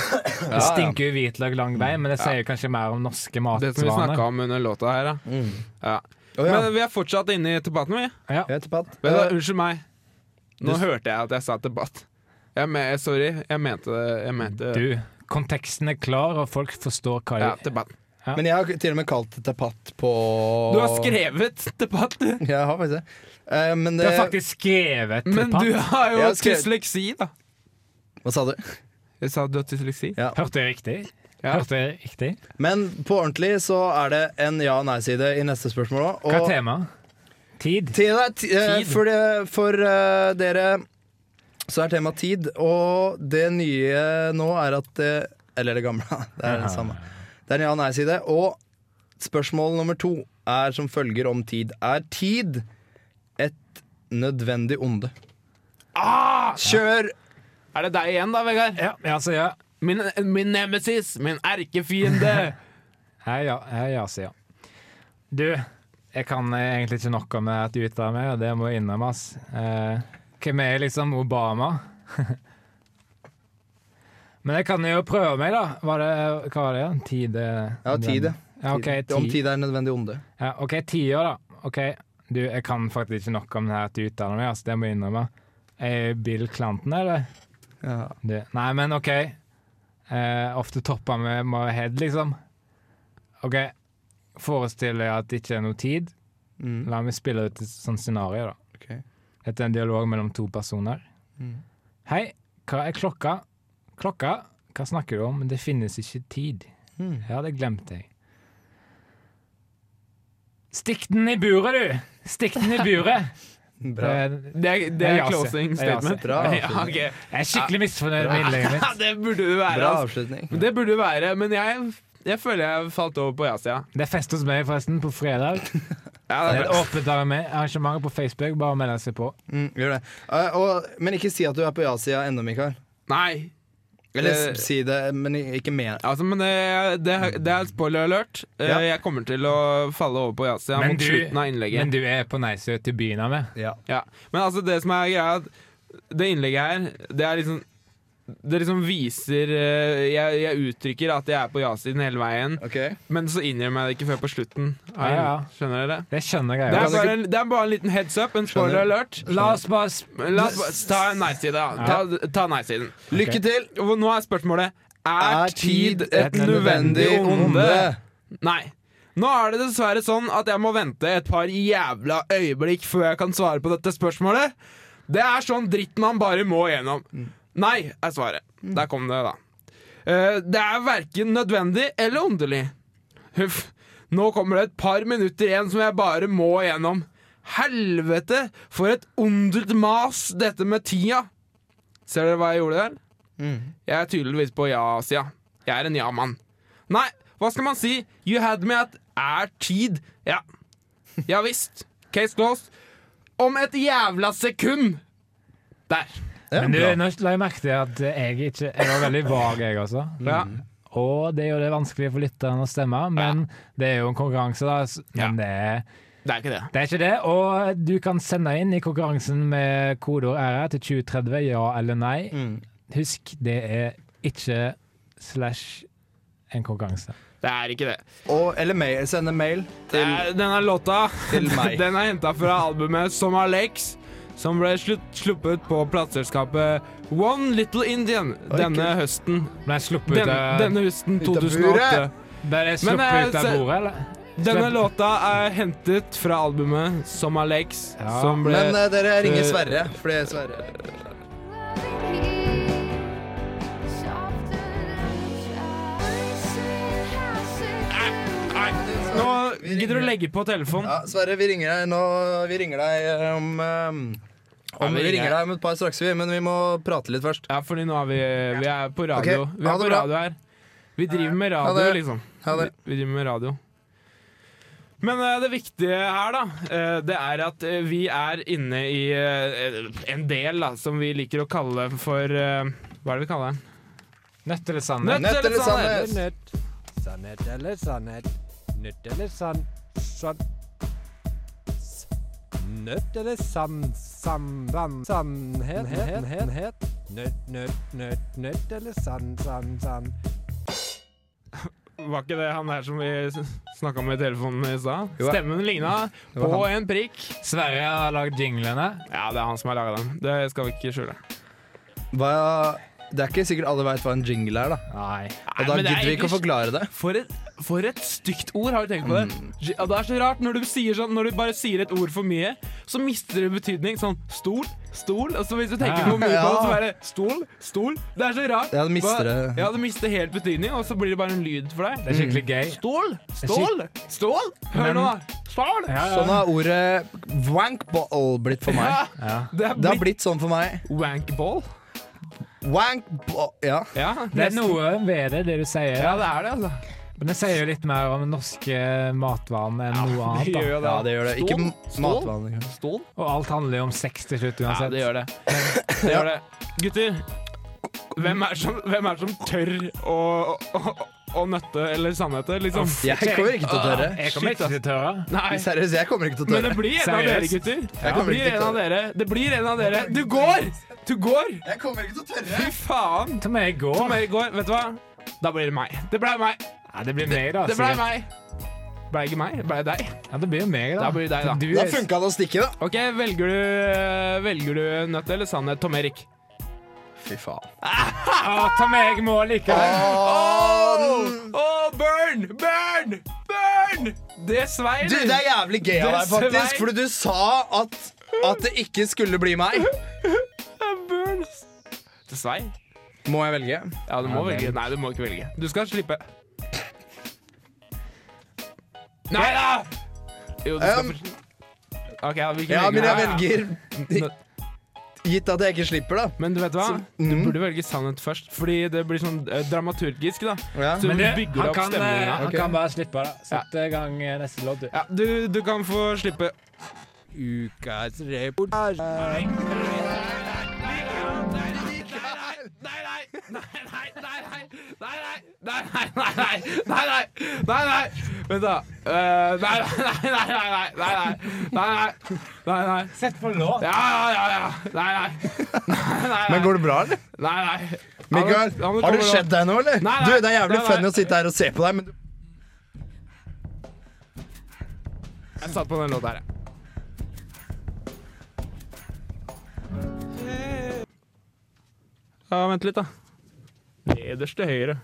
Det stinker jo hvitløk lang vei, men det sier jo kanskje mer om norske Det som vi snakka matvaner. om under låta her, da. Mm. Ja. Å ja. Men vi er fortsatt inne i debatten, vi. Ja. Jeg heter Pat. Men da, Eh, unnskyld meg. Nå du- hørte jeg at jeg sa debatt. Jeg me sorry, jeg mente det. Jeg mente Du, konteksten er klar, og folk forstår hva de Ja, debatt. Men jeg har til og med kalt det Pat på Du har skrevet debatt, du. Jeg har faktisk det. Eh, men Du det har faktisk skrevet Men papp. du har jo Jeg har skrevet- dysleksi, da. Hva sa du? Jeg sa du har dysleksi. Ja. Hørte jeg riktig? Ja. Hørte jeg riktig? Men på ordentlig så er det en ja- og nei-side i neste spørsmål òg. Hva er temaet? Tid? Tid er ti- eh, Tid. For, det, for eh, dere så er temaet tid, og det nye nå er at det Eller det gamle. Det er det samme. Det er en ja- og nei-side. Og spørsmål nummer to er som følger om tid. Er tid et nødvendig onde? Ah! Kjør! Er det deg igjen, da, Vegard? Ja, ja, så ja. Min, min nemesis. Min erkefiende. Hei, ja, hei, ja, sier han. Du, jeg kan egentlig ikke nok om det at du utdanner meg, og det må innrømmes. Eh, hvem er liksom Obama? Men jeg kan jo prøve meg, da. Var det, hva var det? igjen? Tid? eh, Ja, tid, ja. Ja, ok, Tid. Om tid er et nødvendig onde. Ja, OK, tiår, da. Ok, Du, jeg kan faktisk ikke nok om det her at du utdanner meg, altså, det må jeg innrømme. Er Bill Clanton, eller? Ja. Det. Nei, men OK. Eh, ofte topper vi med head, liksom. OK. Forestill deg at det ikke er noe tid. Mm. La meg spille ut et sånt scenario, da. Ok. Dette er en dialog mellom to personer. Mm. Hei, hva er klokka? Klokka? Hva snakker du om? Det finnes ikke tid. Mm. Ja, det glemte jeg. Stikk den i buret, du! Stikk den i buret! Bra. Det Det er, det Det er er jeg, closing altså. Det er jeg, altså. statement. Bra Ja, avslutning. ok. jeg er skikkelig misfornøyd med innlegget mitt. det burde du være. Bra Altså. avslutning. Det burde du være, men jeg, jeg føler jeg falt over på ja-sida. Det er fest hos meg, forresten, på fredag. Ja, Det det er er et bra. åpent arrangement- arrangement på Facebook. Bare meld seg på. Mm, gjør det. Eh, og, men ikke si at du er på ja-sida ennå, Mikael. Nei. Eller Eh, s- si det, men i- ikke mer. Altså, men det, det, det er spoiler alert. Eh, Ja. Jeg kommer til å falle over på ja-sida Men mot du- slutten av innlegget. Men du er på Neisø til byen av meg. Ja. Ja. Men altså, det som er greia, er at det innlegget her, det er liksom det liksom viser eh, jeg, jeg uttrykker at jeg er på ja-siden hele veien, Ok. men så innrømmer jeg det ikke før på slutten. Ja, ja. Skjønner dere? Det skjønner jeg Det jo. er, bare en, det er bare en liten heads up, en spoiler Skjønner. alert. La oss bare sp- Men La oss bare ta en nei-side, da. Ta, ta nei-siden. Lykke til! Og Nå er spørsmålet Er tid et nødvendig onde? Nei. Nå er det dessverre sånn at jeg må vente et par jævla øyeblikk før jeg kan svare på dette spørsmålet. Det er sånn dritt man bare må gjennom. Nei, er svaret. Der kom det, da. Eh, det er verken nødvendig eller underlig. Huff. Nå kommer det et par minutter igjen som jeg bare må gjennom. Helvete, for et ondelt mas dette med tida. Ser dere hva jeg gjorde der? Jeg er tydeligvis på ja-sida. Jeg er en ja-mann. Nei, hva skal man si? You had me at er tid. Ja. Ja visst. Case closed. Om et jævla sekund! Der. Men du, nå la jeg merke til at jeg ikke Jeg var veldig vag, jeg også. Ja. Mm. Og det er jo det vanskelige for lytteren å stemme, men det er jo en konkurranse, da. s- Ja. Men det, er, Det er ikke det. det er ikke det. Og du kan sende inn i konkurransen med kodeord ære til 2030, ja eller nei. Mm. Husk, det er ikke slash en konkurranse. Det er ikke det. Og, eller mail, sende mail det til er, denne låta til meg. Den er henta fra albumet Som Alex, som ble slutt, sluppet på plateselskapet One Little Indian denne høsten. Ble jeg sluppet ut Den, eh, av, denne høsten av 2008. buret. ble jeg Men, sluppet eh, ut av se- bordet, eller? Denne låta er hentet fra albumet Som Alex, Ja. som ble Men eh, dere ringer eh, Sverre, fordi Sverre Nå gidder du å legge på telefonen. Ja, Sverre, vi ringer deg nå Vi ringer deg eh, om, eh, Ja, om vi Vi ringer. ringer deg om et par straks, vi, men vi må prate litt først. Ja, fordi nå er vi, vi er på radio. Ok, Vi ha er det på bra. radio her. Vi driver med Ha radio, det. liksom. Ha det. Vi, vi driver med radio. Men eh, det viktige her, da, eh, det er at eh, vi er inne i eh, en del da, som vi liker å kalle for eh, Hva er det vi kaller den? Nødt eller Nødt sannhet? Nøtt eller sannhet? Nytt. Sannhet eller sannhet. Nytt eller sann... Sann... S- Nøtt eller sann... Sann... Sann... Sannhet... Nøtt, nøtt, nøtt, nøtt, nøtt eller sann, sann, sann. Var ikke det han der som vi snakka med i telefonen i stad? Jo, ja. Stemmen ligna var på en prikk. Sverre har lagd jinglene. Ja, det er han som har laga den. Det skal vi ikke skjule. Hva, det er ikke sikkert alle veit hva en jingle er, da. Nei. Og da men det er gidder vi ikke å egentlig- forklare det. For et, for et stygt ord, har du tenkt på det? Ja, det er så rart når du, sier sånn, når du bare sier et ord for mye, så mister det betydning. Sånn stol, stol. Og så hvis du tenker Ja. for mye på det, så Ja. bare stol, stol. Det er så rart. Ja, det mister Hva- det. Ja, det mister helt betydning, og så blir det bare en lyd for deg. Det er skikkelig gøy. Stål! Stål! Stål! Hør Men- nå, da. Stål! Ja, ja. Sånn har ordet wankball blitt for meg. Ja. Det er Det har blitt blitt sånn for meg. wankball. Wankball Ja. Ja, Det er noe ved det, det du sier. Ja, det er det, altså. Men det sier jo litt mer om norske matvaner enn noe det annet. gjør jo Da. det. ja, det gjør det. Ikke Stål? m- matvaner. kanskje. Stål? Og alt handler jo om sex til slutt Ja, uansett. det gjør det. Det gjør det. Gutter, hvem er som, hvem er som tør å, å, å, å nøtte eller sannhete, liksom? Jeg kommer ikke til å tørre. Jeg kommer ikke til å tørre. Nei, Seriøst, jeg kommer ikke til å men det tørre. blir en av dere, Seriøst? gutter. Jeg Det kommer blir ikke til en å av tørre. dere. Det blir en av dere. Du går! Du går! Jeg kommer ikke til å tørre. Fy faen. Til meg i Om går. jeg går, vet du hva? Da blir det meg. Det blei meg. Ja, det blir meg, da. Det blei sikkert. meg. Blei ikke meg, blei deg. Ja, det blir jo meg, da. Da blir det deg, da. Du Da er- funka det å stikke, da. OK, velger du, velger du nøtt eller sannhet, Tom Erik? Fy faen. Ja, ta meg Ah, må likevel. Ah. Åh, burn! Burn! Burn! Det svei, Du, det er jævlig gøy av deg, Dessverre. faktisk, for du sa at, at det ikke skulle bli meg. burn. Det svei. Må jeg velge? Ja, du må Ja, det- velge. Nei, du må ikke velge. Du skal slippe. Nei da! Jo, du skal Um, for... OK, ja, hvilken Ja, velger men jeg du? velger Nø- Gitt at jeg ikke slipper, da. Men du vet hva? Du Mm. burde velge sannhet først, fordi det blir sånn eh, dramaturgisk, da. Ja. Så Men du det, bygger han, opp kan, eh, stemningen. han Ok. kan bare slippe, da. Sett i gang eh, neste låt, du. Ja, du, du kan få slippe. Ukas reportasje. Nei, nei, nei, nei, nei, nei, nei, nei, nei, nei, nei, nei, nei, nei, nei, vent da. Eh, Nei, nei, nei, nei, nei, nei, nei, nei, nei, nei, nei, Sett på låt. ja, ja, ja, ja, nei, nei, nei, nei, Men går det bra, eller? nei, nei. Mikael, Ja, men- ja, men har kommer det skjedd deg noe, Nei, eller? nei, du, det er jævlig nei, nei. funny å sitte her og se på deg, men du Jeg satt på den låta her, jeg. Ja, vent litt, da. Nederst til høyre.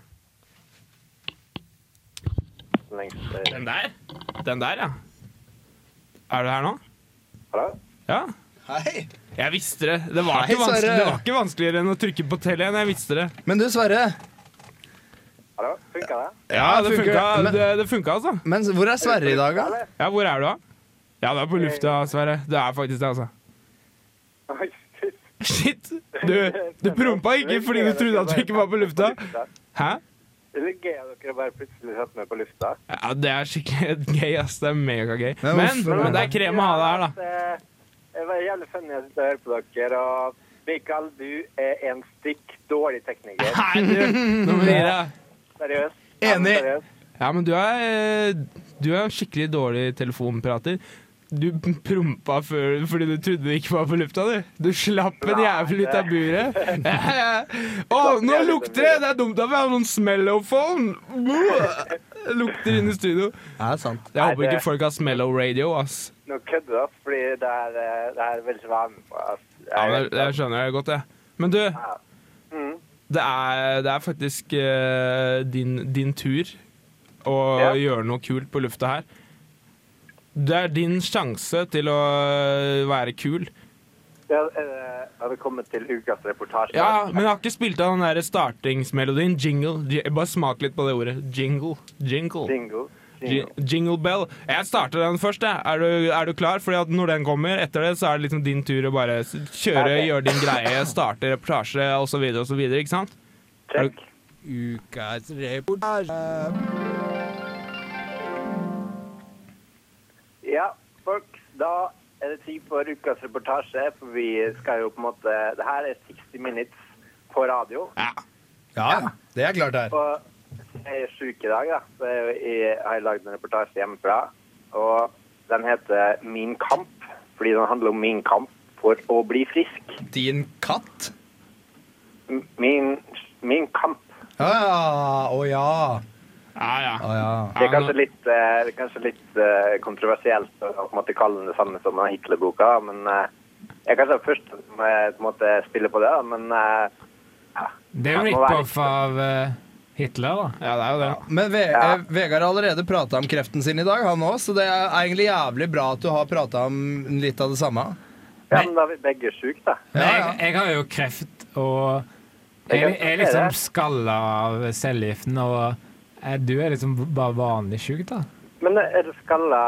Den der? Den der, ja. Er du her nå? Hallo? Ja. Hei. Jeg visste det. Det var, Hei, ikke vanskelig, Sverre. det var ikke vanskeligere enn å trykke på tell igjen. Jeg visste det. Men du, Sverre. Hallo, funker det? Ja, det funker. funka, Men- det, det funka altså. Men hvor er Sverre i dag, da? Ja, hvor er du, da? Ja, du er på lufta, Sverre. Du er faktisk det, altså. Oi, shit. Shit! Du, du prompa ikke fordi du trodde at du ikke var på lufta. Hæ? Eller gøy at dere bare plutselig satte meg på lufta. Ja, det er skikkelig gøy, ass. Det er megagøy. Men Men, hvorfor- men det er krem å ha det her, da. da. Det eh, var jævlig funny å sitte og høre på dere. Og Mikael, du er en stykk dårlig tekniker. Nei, du, nå blir det Seriøst. Enig. Seriøst. Ja, men du er eh, Du er en skikkelig dårlig telefonprater. Du prompa før fordi du trodde du ikke var på lufta, du. Du slapp en jævel ut av buret. Ja, ja. Å, nå lukter det! Det er dumt at vi har noen smellophone. Det Lukter inn i studio. Ja, sant. Jeg håper ikke folk har smellow radio, ass. Nå kødder du, ass, fordi det er, eh, det er veldig svært på, ass. Ja, men det, det skjønner jeg godt, jeg. Men du, Mm. det er, det er faktisk eh, din, din tur å Ja. gjøre noe kult på lufta her. Det er din sjanse til å eh, være kul. Ja, eh, Velkommen til ukas reportasje. Ja, men jeg har ikke spilt av den der startingsmelodien. Jingle. Ji- Bare smak litt på det ordet. Jingle. Jingle. Jingle. Ji- Jingle. Jingle bell. Jeg starter den først, jeg. Er du, er du klar? Fordi at når den kommer etter det, så er det liksom din tur å bare s- kjøre, Ok. gjøre din greie, starte reportasje osv. osv. Ikke sant? Er Check. du- Ukas reportasje. Ja, folks, da er det tid for ukas reportasje, for vi skal jo på en måte Det her er 60 minutes på radio, Ja, det er klart det er. og jeg er syk i dag, da. Så jeg, jeg har lagd en reportasje hjemmefra, og den heter Min kamp, fordi den handler om min kamp for å bli frisk. Din katt? M- Min, min kamp. Å ja. Å ja. Ja, ja. Å ja. Det er Ja, nå- kanskje litt, eh, det er kanskje litt eh, kontroversielt å på en måte kalle den det samme som den Hitler-boka, men eh, jeg er kanskje den første som eh, på en måte spiller på det, da, men eh, Det er jo rip-off av eh, Hitler, da. ja, det er jo det. Men Ve Ja. eh, Vegard har allerede prata om kreften sin i dag, han òg, så det er egentlig jævlig bra at du har prata om litt av det samme. ja, Nei. men da er vi begge syke, da. Men Ja, jeg, jeg har jo kreft, og Jeg jeg, kan jeg er se liksom det. skalla av cellegiften, og eh, du er liksom bare vanlig sjuk, da. Men er det skalla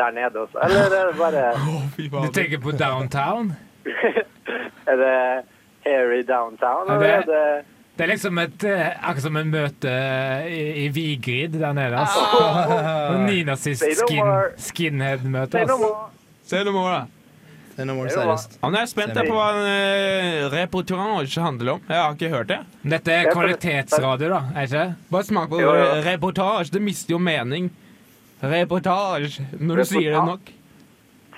der nede også, eller er det bare Du tenker på downtown? Er det hairy downtown, Ja, eller det- er det Det er liksom et, eh, akkurat som en møte eh, i, i Vigrid der nede. Altså. Noen Nynazist Ah. Say no skin, more. skinhead-møte. Say no Altså. more. Se nå må da. Det er noe Det er jo seriøst. Ja, men jeg er spent jeg, på hva en reportasje handler om. Jeg har ikke hørt det. Dette er kvalitetsradio, da, er ikke det? Bare smak på Jo, ordet jo. reportasje. Det mister jo mening. Reportasje. Når du sier det nok.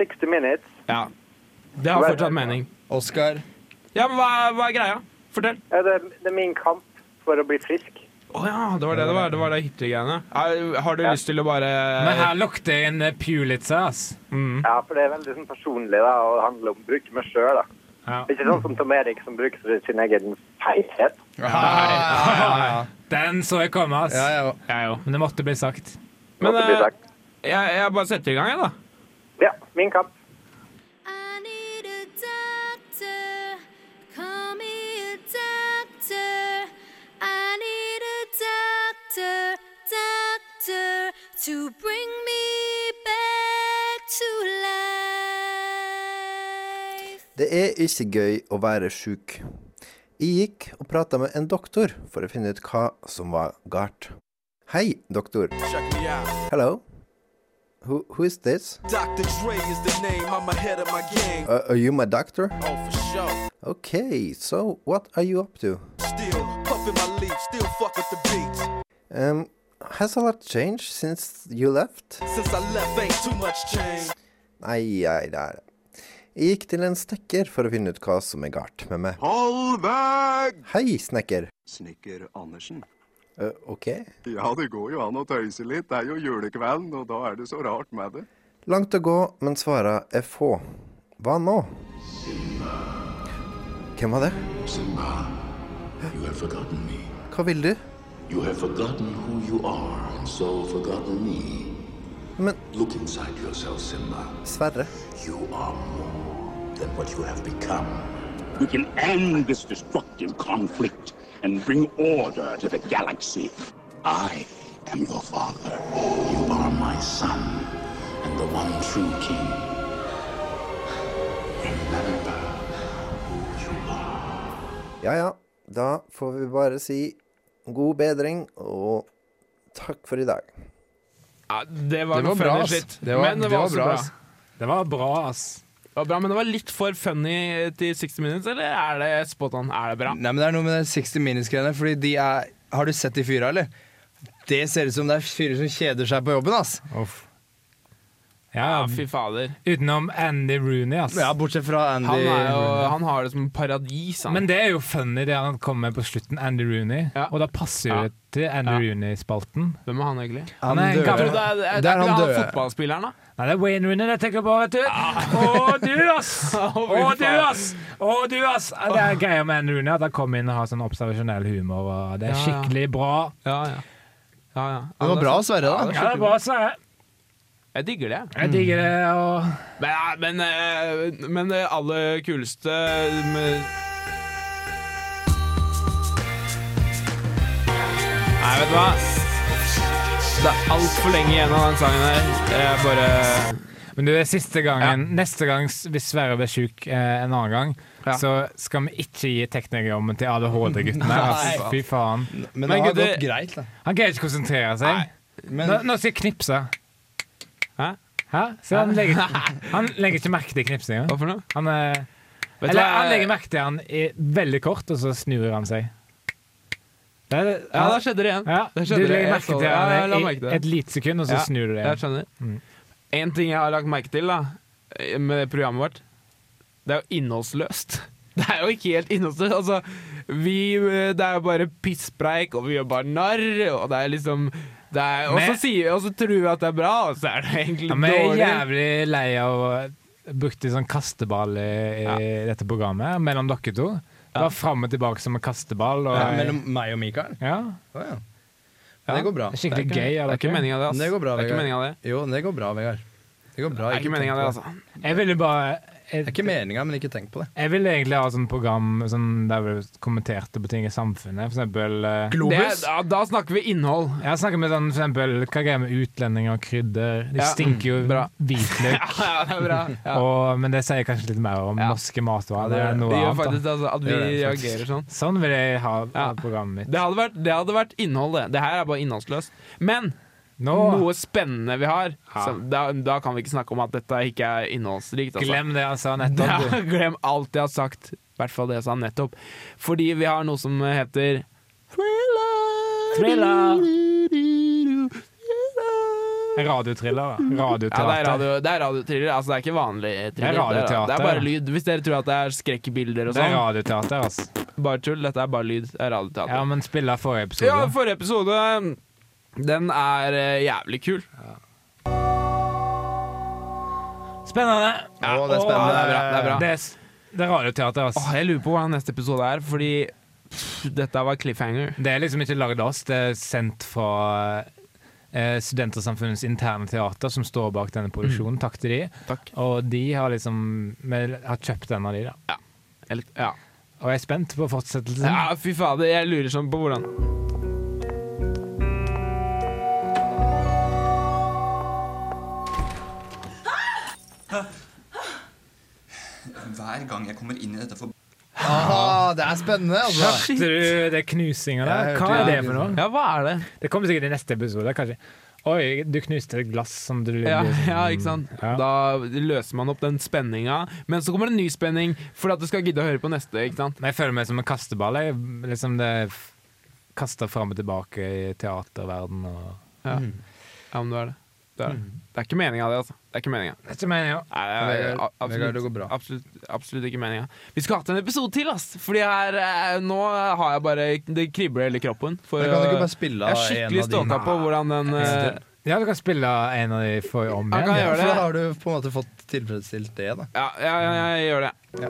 60 minutes. Ja. Det har fortsatt mening. Oskar. Ja, men hva, hva er greia? Fortell. Er det, det er min kamp for å bli frisk. Å ja, det var det det var. Det var det Hitler-greiene. Er- Har du lyst til å bare Men her lukter en eh, Pulitzer, ass. mm. Ja, for det er veldig sånn, personlig da, og det handler om å bruke meg sjøl. Ja. Ikke sånn som Tom Erik som bruker sin egen feighet. Den så jeg komme, ass. Ja, ja. Jeg òg. Men det måtte bli sagt. Men måtte eh, bli sagt. jeg, jeg bare setter i gang, jeg, da. Ja, min kamp. I need a doctor. Call me a doctor. I need a doctor, doctor, to bring me back to life. Det er ikke gøy å være sjuk. Jeg gikk og prata med en doktor for å finne ut hva som var galt. Hei, doktor. Hello. Who, who is this? Dr. Dre is the name, I'm ahead of my game. Uh, are you my doctor? Oh, for sure. Okay, so what are you up to? Still puffin' my leaf, still fuck with the beats. Um, has a lot changed since you left? Since I left, ain't too much change. Nei, nei, nei. Jeg gikk til en snekker for å finne ut hva som er galt med meg. Hold back! Hei, snekker. Snekker Andersen. Uh, ok. Ja, det går jo an å tøyse litt. Det er jo julekvelden, og da er det så rart med det. Langt å gå, men svara er få. Hva nå? Hvem var det? Simba, you have forgotten me. Hva vil du? You have forgotten who you are, and so forgotten me. Men Look inside yourself, Simba. Sverre, You are more than what you have become. We can end this destructive conflict and bring order to the galaxy. I am your father. You are my son and the one true king. Remember who you are. ja ja, da får vi bare si god bedring og takk for i dag. Ja, det var, Det noe var bra, funny ass. shit. Det var- men det det var, var også bra, bra. ass. Det var bra, ass. Det var bra. Men det var litt for funny til 60 Minutes, eller er det spot on? Er det bra? Nei, men det er noe med det 60 Minutes-greiene, fordi de er Har du sett de fyra, eller? Det ser ut som det er fyrer som kjeder seg på jobben, ass. Uff. Ja, Ja, fy fader. utenom Andy Rooney, ass. Ja, bortsett fra Andy. Han, er jo, han har det som paradis, han. Men det er jo funny, det han kom med på slutten, Andy Rooney. Ja. Og da passer jo Ja. det til Andy Ja. Rooney-spalten. Hvem er han egentlig? Han Han er en døde. gammel- Det er, det er, Der han han døde. fotballspilleren, da. Nei, det er Wayne Rooney jeg tenker på, vet du. Å, du, ass! Ah. Å, Ah. fy du, faen. ass! Å, du, ass! Ja, Det er greia med Andy Rooney, at han kommer inn og har sånn observasjonell humor, og det er Ja, ja. skikkelig bra. Ja, ja. Ja, ja. sånn- Det var bra å sverre, da. Ja, det er Mm. bra å sverre. Jeg digger det. Jeg digger det, og Men, ja, men, eh, men det aller kuleste eh, med Nei, vet du hva? Det er altfor lenge igjen av den sangen her. Jeg bare Men du, det er siste gangen. Neste gang, s- hvis Sverre blir sjuk eh, en annen gang, så skal vi ikke gi teknikerjobben til ADHD-guttene. Altså, Nei. fy faen. sånn- Men det Men har gutter- gått greit, da. Han greier ikke å konsentrere seg. Men Nå, nå skal jeg knipse. Hæ? Hæ? Så han legger, han legger ikke merke til knipsinga. Hva for noe? Han, eh, Vet du eller, hva? han legger merke til han i veldig kort, og så snur han seg. Det er, Ja, da skjedde det igjen. ja, Da du skjedde det. legger Jeg merke så til det. Ja, jeg la han i merke til det. et lite sekund, og så Ja, snur du det Jeg igjen. skjønner. En ting jeg har lagt merke til da med programmet vårt, det er jo innholdsløst. Det er jo ikke helt innholdsløst. Altså, vi, eh, det er jo bare pisspreik, og vi gjør bare narr, og det er liksom det er, og, så Men- sier, og så tror vi at det er bra, og så er det egentlig Ja, men jeg er dårlig. jævlig lei av å bruke sånn kasteball i, i dette programmet mellom dere to. Det var fram og tilbake som en kasteball. Og, ja, Mellom meg og Mikael? ja. Å ja. Men det går bra. Det er skikkelig Det er gøy ikke, av det er ikke dere. meningen av det, Men ass. det går bra, det er ikke Vegard. meningen av det. Jo, men det går bra, Vegard. Det går bra. Det er ikke meningen av det, altså. Jeg ville bare Det jeg, er ikke meninga, men ikke tenk på det. jeg ville egentlig ha sånn program sånn, der vi kommenterte på ting i samfunnet. For eksempel eh, Det, er- ja, da snakker vi innhold. Jeg har snakket med sånn, for eksempel, hva greier med utlendinger og krydder? De Ja, stinker jo mm, bra. hvitløk. Ja, det er bra. Ja. Og, men det sier kanskje litt mer om norske matvarer det enn noe gjør annet. faktisk altså, at vi Det gjør det faktisk. reagerer sånn. Da. Sånn vil jeg ha Ja. programmet mitt. Det hadde vært, det hadde vært innhold, det. Det her er bare innholdsløst. Men Nå, noe spennende vi har. Så da, da kan vi ikke snakke om at dette ikke er innholdsrikt. Altså. glem det jeg sa nettopp. Ja, du. glem alt jeg har sagt. I hvert fall det jeg sa nettopp. Fordi vi har noe som heter Thriller. Thriller. Thriller. Radiotriller, da. Ja, det er Radioteater. radio- det er radiotriller. Altså, det er ikke vanlig thriller. radioteater, det er ja. bare lyd. Hvis dere tror at det er skrekkbilder og det er sånn, radioteater, altså. bare tull. Dette er bare lyd. Det er radioteater. Ja, men spiller forrige episode. Ja, forrige episode Den er eh, jævlig kul. Spennende! Eh, Ja, Å, det er spennende. Det er bra. Det er bra. Det er, s- det er radioteater, Åh, altså. jeg lurer på hva neste episode er, fordi pff, dette var cliffhanger. Det er liksom ikke lagd av oss, det er sendt fra eh, Studentersamfunnets interne teater, som står bak denne produksjonen. Takk til de. Mm. Takk. Og de har liksom Vi har kjøpt den av de, da. Eller, ja. Og jeg er spent på fortsettelsen. ja, fy fader, jeg lurer sånn på hvordan Hver gang jeg kommer inn i dette forbanna Ah, det er spennende, altså. Hørte du det knusinga der? Jeg hørte Hva er det det. for noe? Ja, hva er det? Det kommer sikkert i neste episode, kanskje. Oi, du knuste et glass som du Ja, ja, ikke sant? Ja. Da løser man opp den spenninga, men så kommer det en ny spenning for at du skal gidde å høre på neste. ikke sant? Men jeg føler meg som en kasteball. Jeg liksom det Kasta fram og tilbake i teaterverden og Ja, Mm. ja men det er det. Det er, det. det er ikke meninga, det. altså. Det er ikke meningen. Det er ikke meningen. Nei, det er, Vegard, a- absolutt, Vegard, det går bra. Absolutt, absolutt ikke meninga. Vi skulle hatt en episode til, ass! Fordi her, eh, nå har jeg bare Det kribler i hele kroppen. For, Men kan du å- ikke bare spille jeg er av en skikkelig av ståka dine? på hvordan den eh, Ja, du kan spille en av de for om Ja, kan jeg igjen. gjøre For da har du på en måte fått tilfredsstilt det, da. Ja, ja, ja, jeg gjør det. Ja.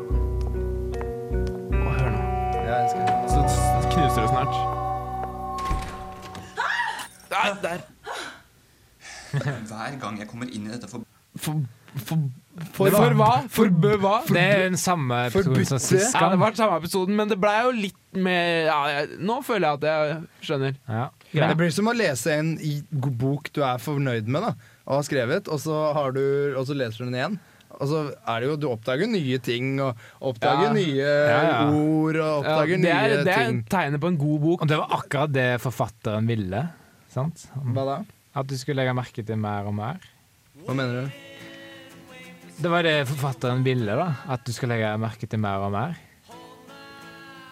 Å, hør nå. Ja, jeg skal. Så s- knuser det snart. Der! Ah, der. Hver gang jeg kommer inn i dette forbanna For, hva? For bø hva? Det er jo den samme episoden som sist Ja, det gang. var den samme episoden, men det blei jo litt mer ja, jeg, Nå føler jeg at jeg skjønner. Ja. Men Det blir som å lese en i- god bok du er fornøyd med da, og har skrevet, og så, har du, og så leser du den igjen. Og så er det jo, Du oppdager nye ting, og oppdager Ja. nye ja. ord og Ja, oppdager det er, nye det er ting. tegnet på en god bok. Og det var akkurat det forfatteren ville. Sant? Hva da? At du skulle legge merke til mer og mer. Hva mener du? Det var det forfatteren ville, da. At du skal legge merke til mer og mer.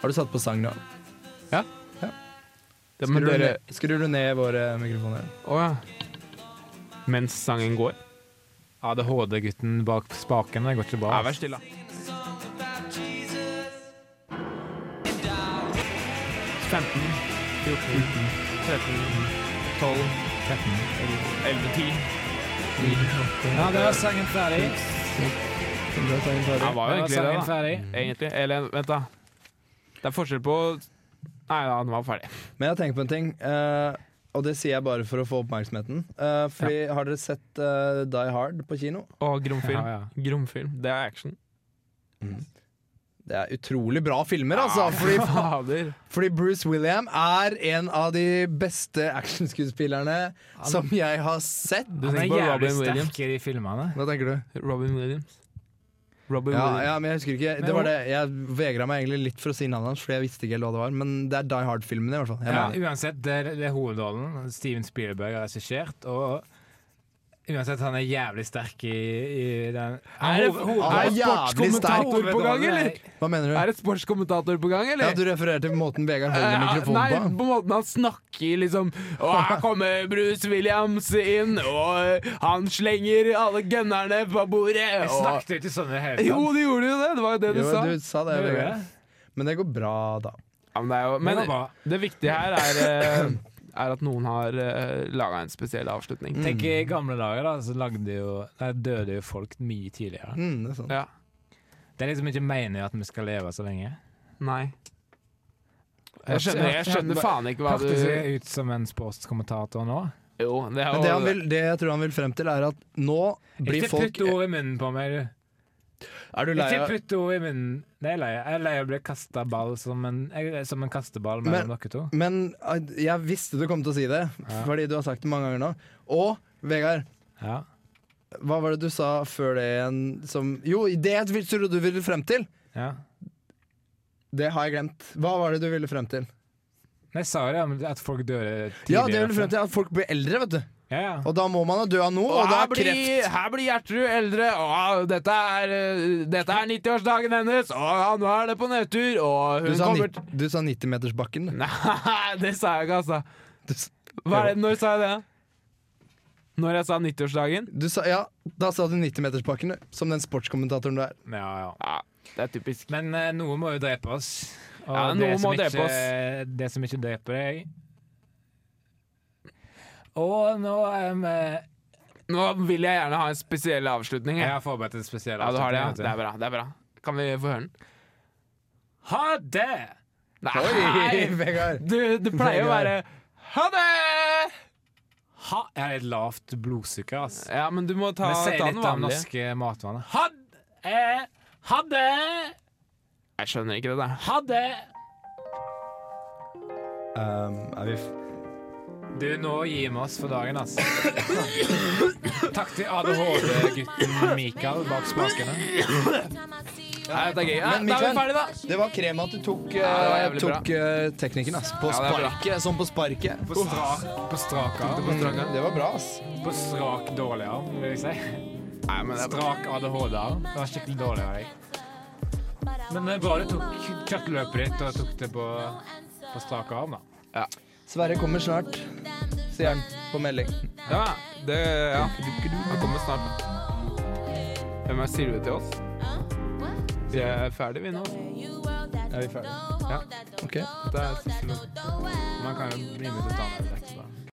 Har du satt på sang nå? Det, men Skrur, du dere, ned- skrur du ned våre mikrofoner? å, ja. Mens sangen går. ADHD-gutten bak spakene går ikke bra. Ja, ass. vær stille, da. Ja, det var sangen ferdig. Ja, var Det jo var egentlig sangen det, da. ferdig. Egentlig. Eller vent, da. Det er forskjell på Nei da, den var ferdig. Men jeg tenker på en ting. eh, Og det sier jeg bare for å få oppmerksomheten. Eh, fordi Har dere sett eh, Die Hard på kino? Og Gromfilm. Gromfilm. Det er action. Det er utrolig bra filmer, altså! Ja, Fordi, fader. fordi Bruce William er en av de beste actionskuespillerne som jeg har sett. Du tenker på Robin Williams? i de filmene. Hva tenker du? Robin Williams. Robin Ja, Williams. ja, men jeg husker ikke Men det var hvor- det. Jeg vegra meg egentlig litt for å si navnet hans, Fordi jeg visste ikke helt hva det var. Men det er Die Hard-filmene, i hvert fall. Jeg Ja, mener. uansett, det er, det er hovedrollen. Steven Spielberg har regissert. Og uansett, han er jævlig sterk i, i den Er det- Ah, er det sportskommentator på gang, eller? Hva mener du? Er det sportskommentator på gang, eller? Ja, Du refererer til måten Vegard holder Eh, Nei, mikrofonen på. på måten han snakker liksom Og her kommer Bruce Williams inn, og eh, han slenger alle gunnerne på bordet. Jeg og- snakket jo ikke sånn i det hele tatt. Jo, du gjorde jo det! Det var jo det du Jo, sa. du sa det, Gjorde jeg Vegard. Men det går bra, da. Ja, men det, er jo, Men men det var det viktige her er, eh, er at noen har uh, laga en spesiell Mm. avslutning. Tenk i gamle dager, da, så lagde jo Nei, døde jo folk mye tidligere. Mm, det er sant. Ja. Det er liksom ikke meningen at vi skal leve så lenge. Nei. Jeg skjønner, jeg skjønner faen ikke hva du Hørtes jeg ut som en sportskommentator nå? Jo, det er Men jo det, han vil, det jeg tror han vil frem til, er at nå blir Ikke folk putt ord i munnen på meg, du. Er du lei Ikke av putt ord i munnen. Nei, jeg er lei. Jeg er lei av å bli kasta ball som en, jeg er som en kasteball mellom Men- dere to. Men eh, jeg visste du kom til å si det, fordi du har sagt det mange ganger nå. Og Vegard, Ja. hva var det du sa før det igjen som Jo, det jeg vil- trodde du ville frem til! ja. Det har jeg glemt. Hva var det du ville frem til? Nei, jeg sa jo det, men at folk dør tidligere. Ja, det ville frem til at folk blir eldre, vet du. Ja, ja. Og da må man jo dø av noe, og det her, er blir, kreft. her blir Gjertrud eldre, og dette er, eh, dette er 90-årsdagen hennes, og ja, nå er det på nedtur, og Du hun sa, kommer til nitt- du sa 90-metersbakken. du. Nei, det sa jeg ikke, altså. Du, s- Hva er det, når sa jeg det? Når jeg sa 90-årsdagen? du sa, ja, da sa du 90-metersbakken, du, som den sportskommentatoren du er. Ja, ja. Ja, det er typisk. Men eh, noen må jo drepe oss. Og Ja, det, noen som må drepe ikke, det som ikke dreper deg Og nå um, Nå vil jeg gjerne ha en spesiell avslutning. Jeg jeg. har forberedt en spesiell Ja, du har det, ja. Det vet er bra. det er bra Kan vi få høre den? du. Ha det! Nei! Vegard. Du, det pleier å være ha det! Ha, jeg har et lavt blodsukker, altså. Ja, men du må ta, Men si ta den litt om vanlige. norske matvaner. Ha, eh, ha det! Jeg skjønner ikke det der. Ha det! Um, er vi f Du, nå gir vi oss for dagen, altså. Takk til ADHD-gutten Mikael bak spakene. Nei, det er gøy. Ja, da er Men Mikael- vi ferdige, da. Det var krem at du tok, eh, det var jævlig tok eh, teknikken ass. Ja, på det er bra. sparket. Sånn på sparket. På strak, på strak arm. Mm, det var bra, ass. På strak dårlig arm, vil jeg si. Nei, men Strak ADHD-arm. Det var skikkelig dårlig av deg. Men det er bra du tok kjøttløpet ditt og tok det på, på strak arm, da. Sverre kommer snart, sier han på melding. Ja, det ja. Han kommer snart. Hvem er Silve til oss? Vi er ferdige, vi nå. Er vi ferdige? Ja. Ok. Det er siste minutt. Man kan jo bli med til å ta med vekk, da.